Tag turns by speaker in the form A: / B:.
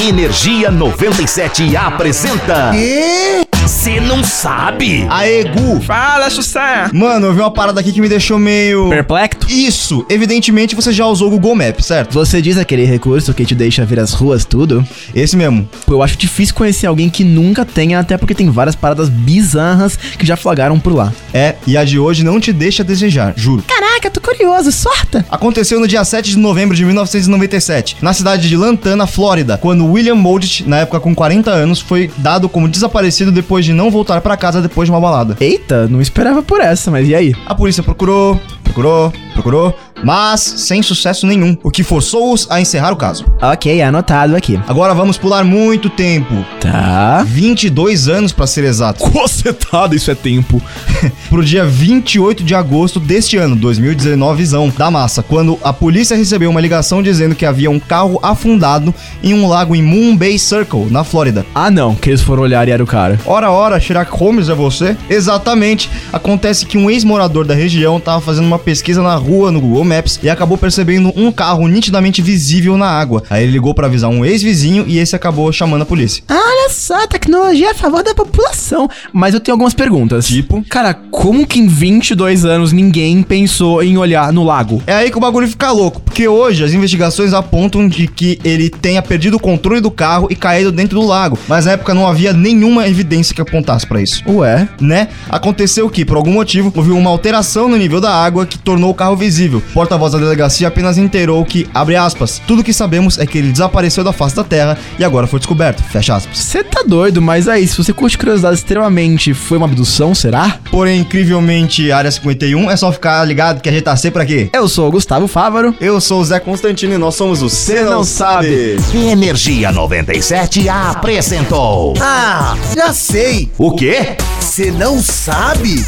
A: Energia 97 apresenta.
B: E...
A: Você não sabe?
B: Aê, Gu.
C: Fala, Susan!
B: Mano, eu vi uma parada aqui que me deixou meio...
C: Perplexo?
B: Isso, evidentemente você já usou o Google Maps, certo?
D: Você diz aquele recurso que te deixa ver as ruas, tudo?
B: Esse mesmo.
D: Pô, eu acho difícil conhecer alguém que nunca tenha, até porque tem várias paradas bizarras que já flagraram por lá.
B: É, e a de hoje não te deixa desejar, juro.
D: Caraca, tô curioso, sorta!
B: Aconteceu no dia 7 de novembro de 1997, na cidade de Lantana, Flórida, quando William Moldit, na época com 40 anos, foi dado como desaparecido depois de não voltar pra casa depois de uma balada.
D: Eita, não esperava por essa, mas e aí?
B: A polícia procurou, procurou, procurou, mas sem sucesso nenhum, o que forçou-os a encerrar o caso.
D: Ok, anotado aqui.
B: Agora vamos pular muito tempo.
D: Tá.
B: 22 anos pra ser exato.
C: Cocetada, isso é tempo.
B: Pro dia 28 de agosto deste ano, 2019, visão da massa, quando a polícia recebeu uma ligação dizendo que havia um carro afundado em um lago em Moon Bay Circle, na Flórida.
D: Ah não, que eles foram olhar e era o cara.
B: Ora, ora, Sherlock Holmes é você? Exatamente. Acontece que um ex-morador da região estava fazendo uma pesquisa na rua no Google Maps e acabou percebendo um carro nitidamente visível na água. Aí ele ligou para avisar um ex-vizinho e esse acabou chamando a polícia.
D: Ah, olha só, tecnologia é a favor da população. Mas eu tenho algumas perguntas.
B: Tipo?
D: Cara, como que em 22 anos ninguém pensou em olhar no lago?
B: É aí que o bagulho fica louco, porque hoje as investigações apontam de que ele tenha perdido o controle do carro e caído dentro do lago, mas na época não havia nenhuma evidência que apontasse para isso.
D: Ué?
B: né? Aconteceu que, por algum motivo, houve uma alteração no nível da água que tornou o carro visível. O porta-voz da delegacia apenas inteirou que, abre aspas, tudo que sabemos é que ele desapareceu da face da terra e agora foi descoberto, fecha aspas.
D: Você tá doido, mas aí, se você curte curiosidade extremamente, foi uma abdução, será?
B: Porém, incrivelmente, Área 51, é só ficar ligado que a gente tá sempre aqui.
D: Eu sou o Gustavo Fávaro.
B: Eu sou o Zé Constantino e nós somos o Cê Não Sabe.
A: Energia 97 apresentou.
E: Ah, já sei.
A: O quê?
E: Você não sabe?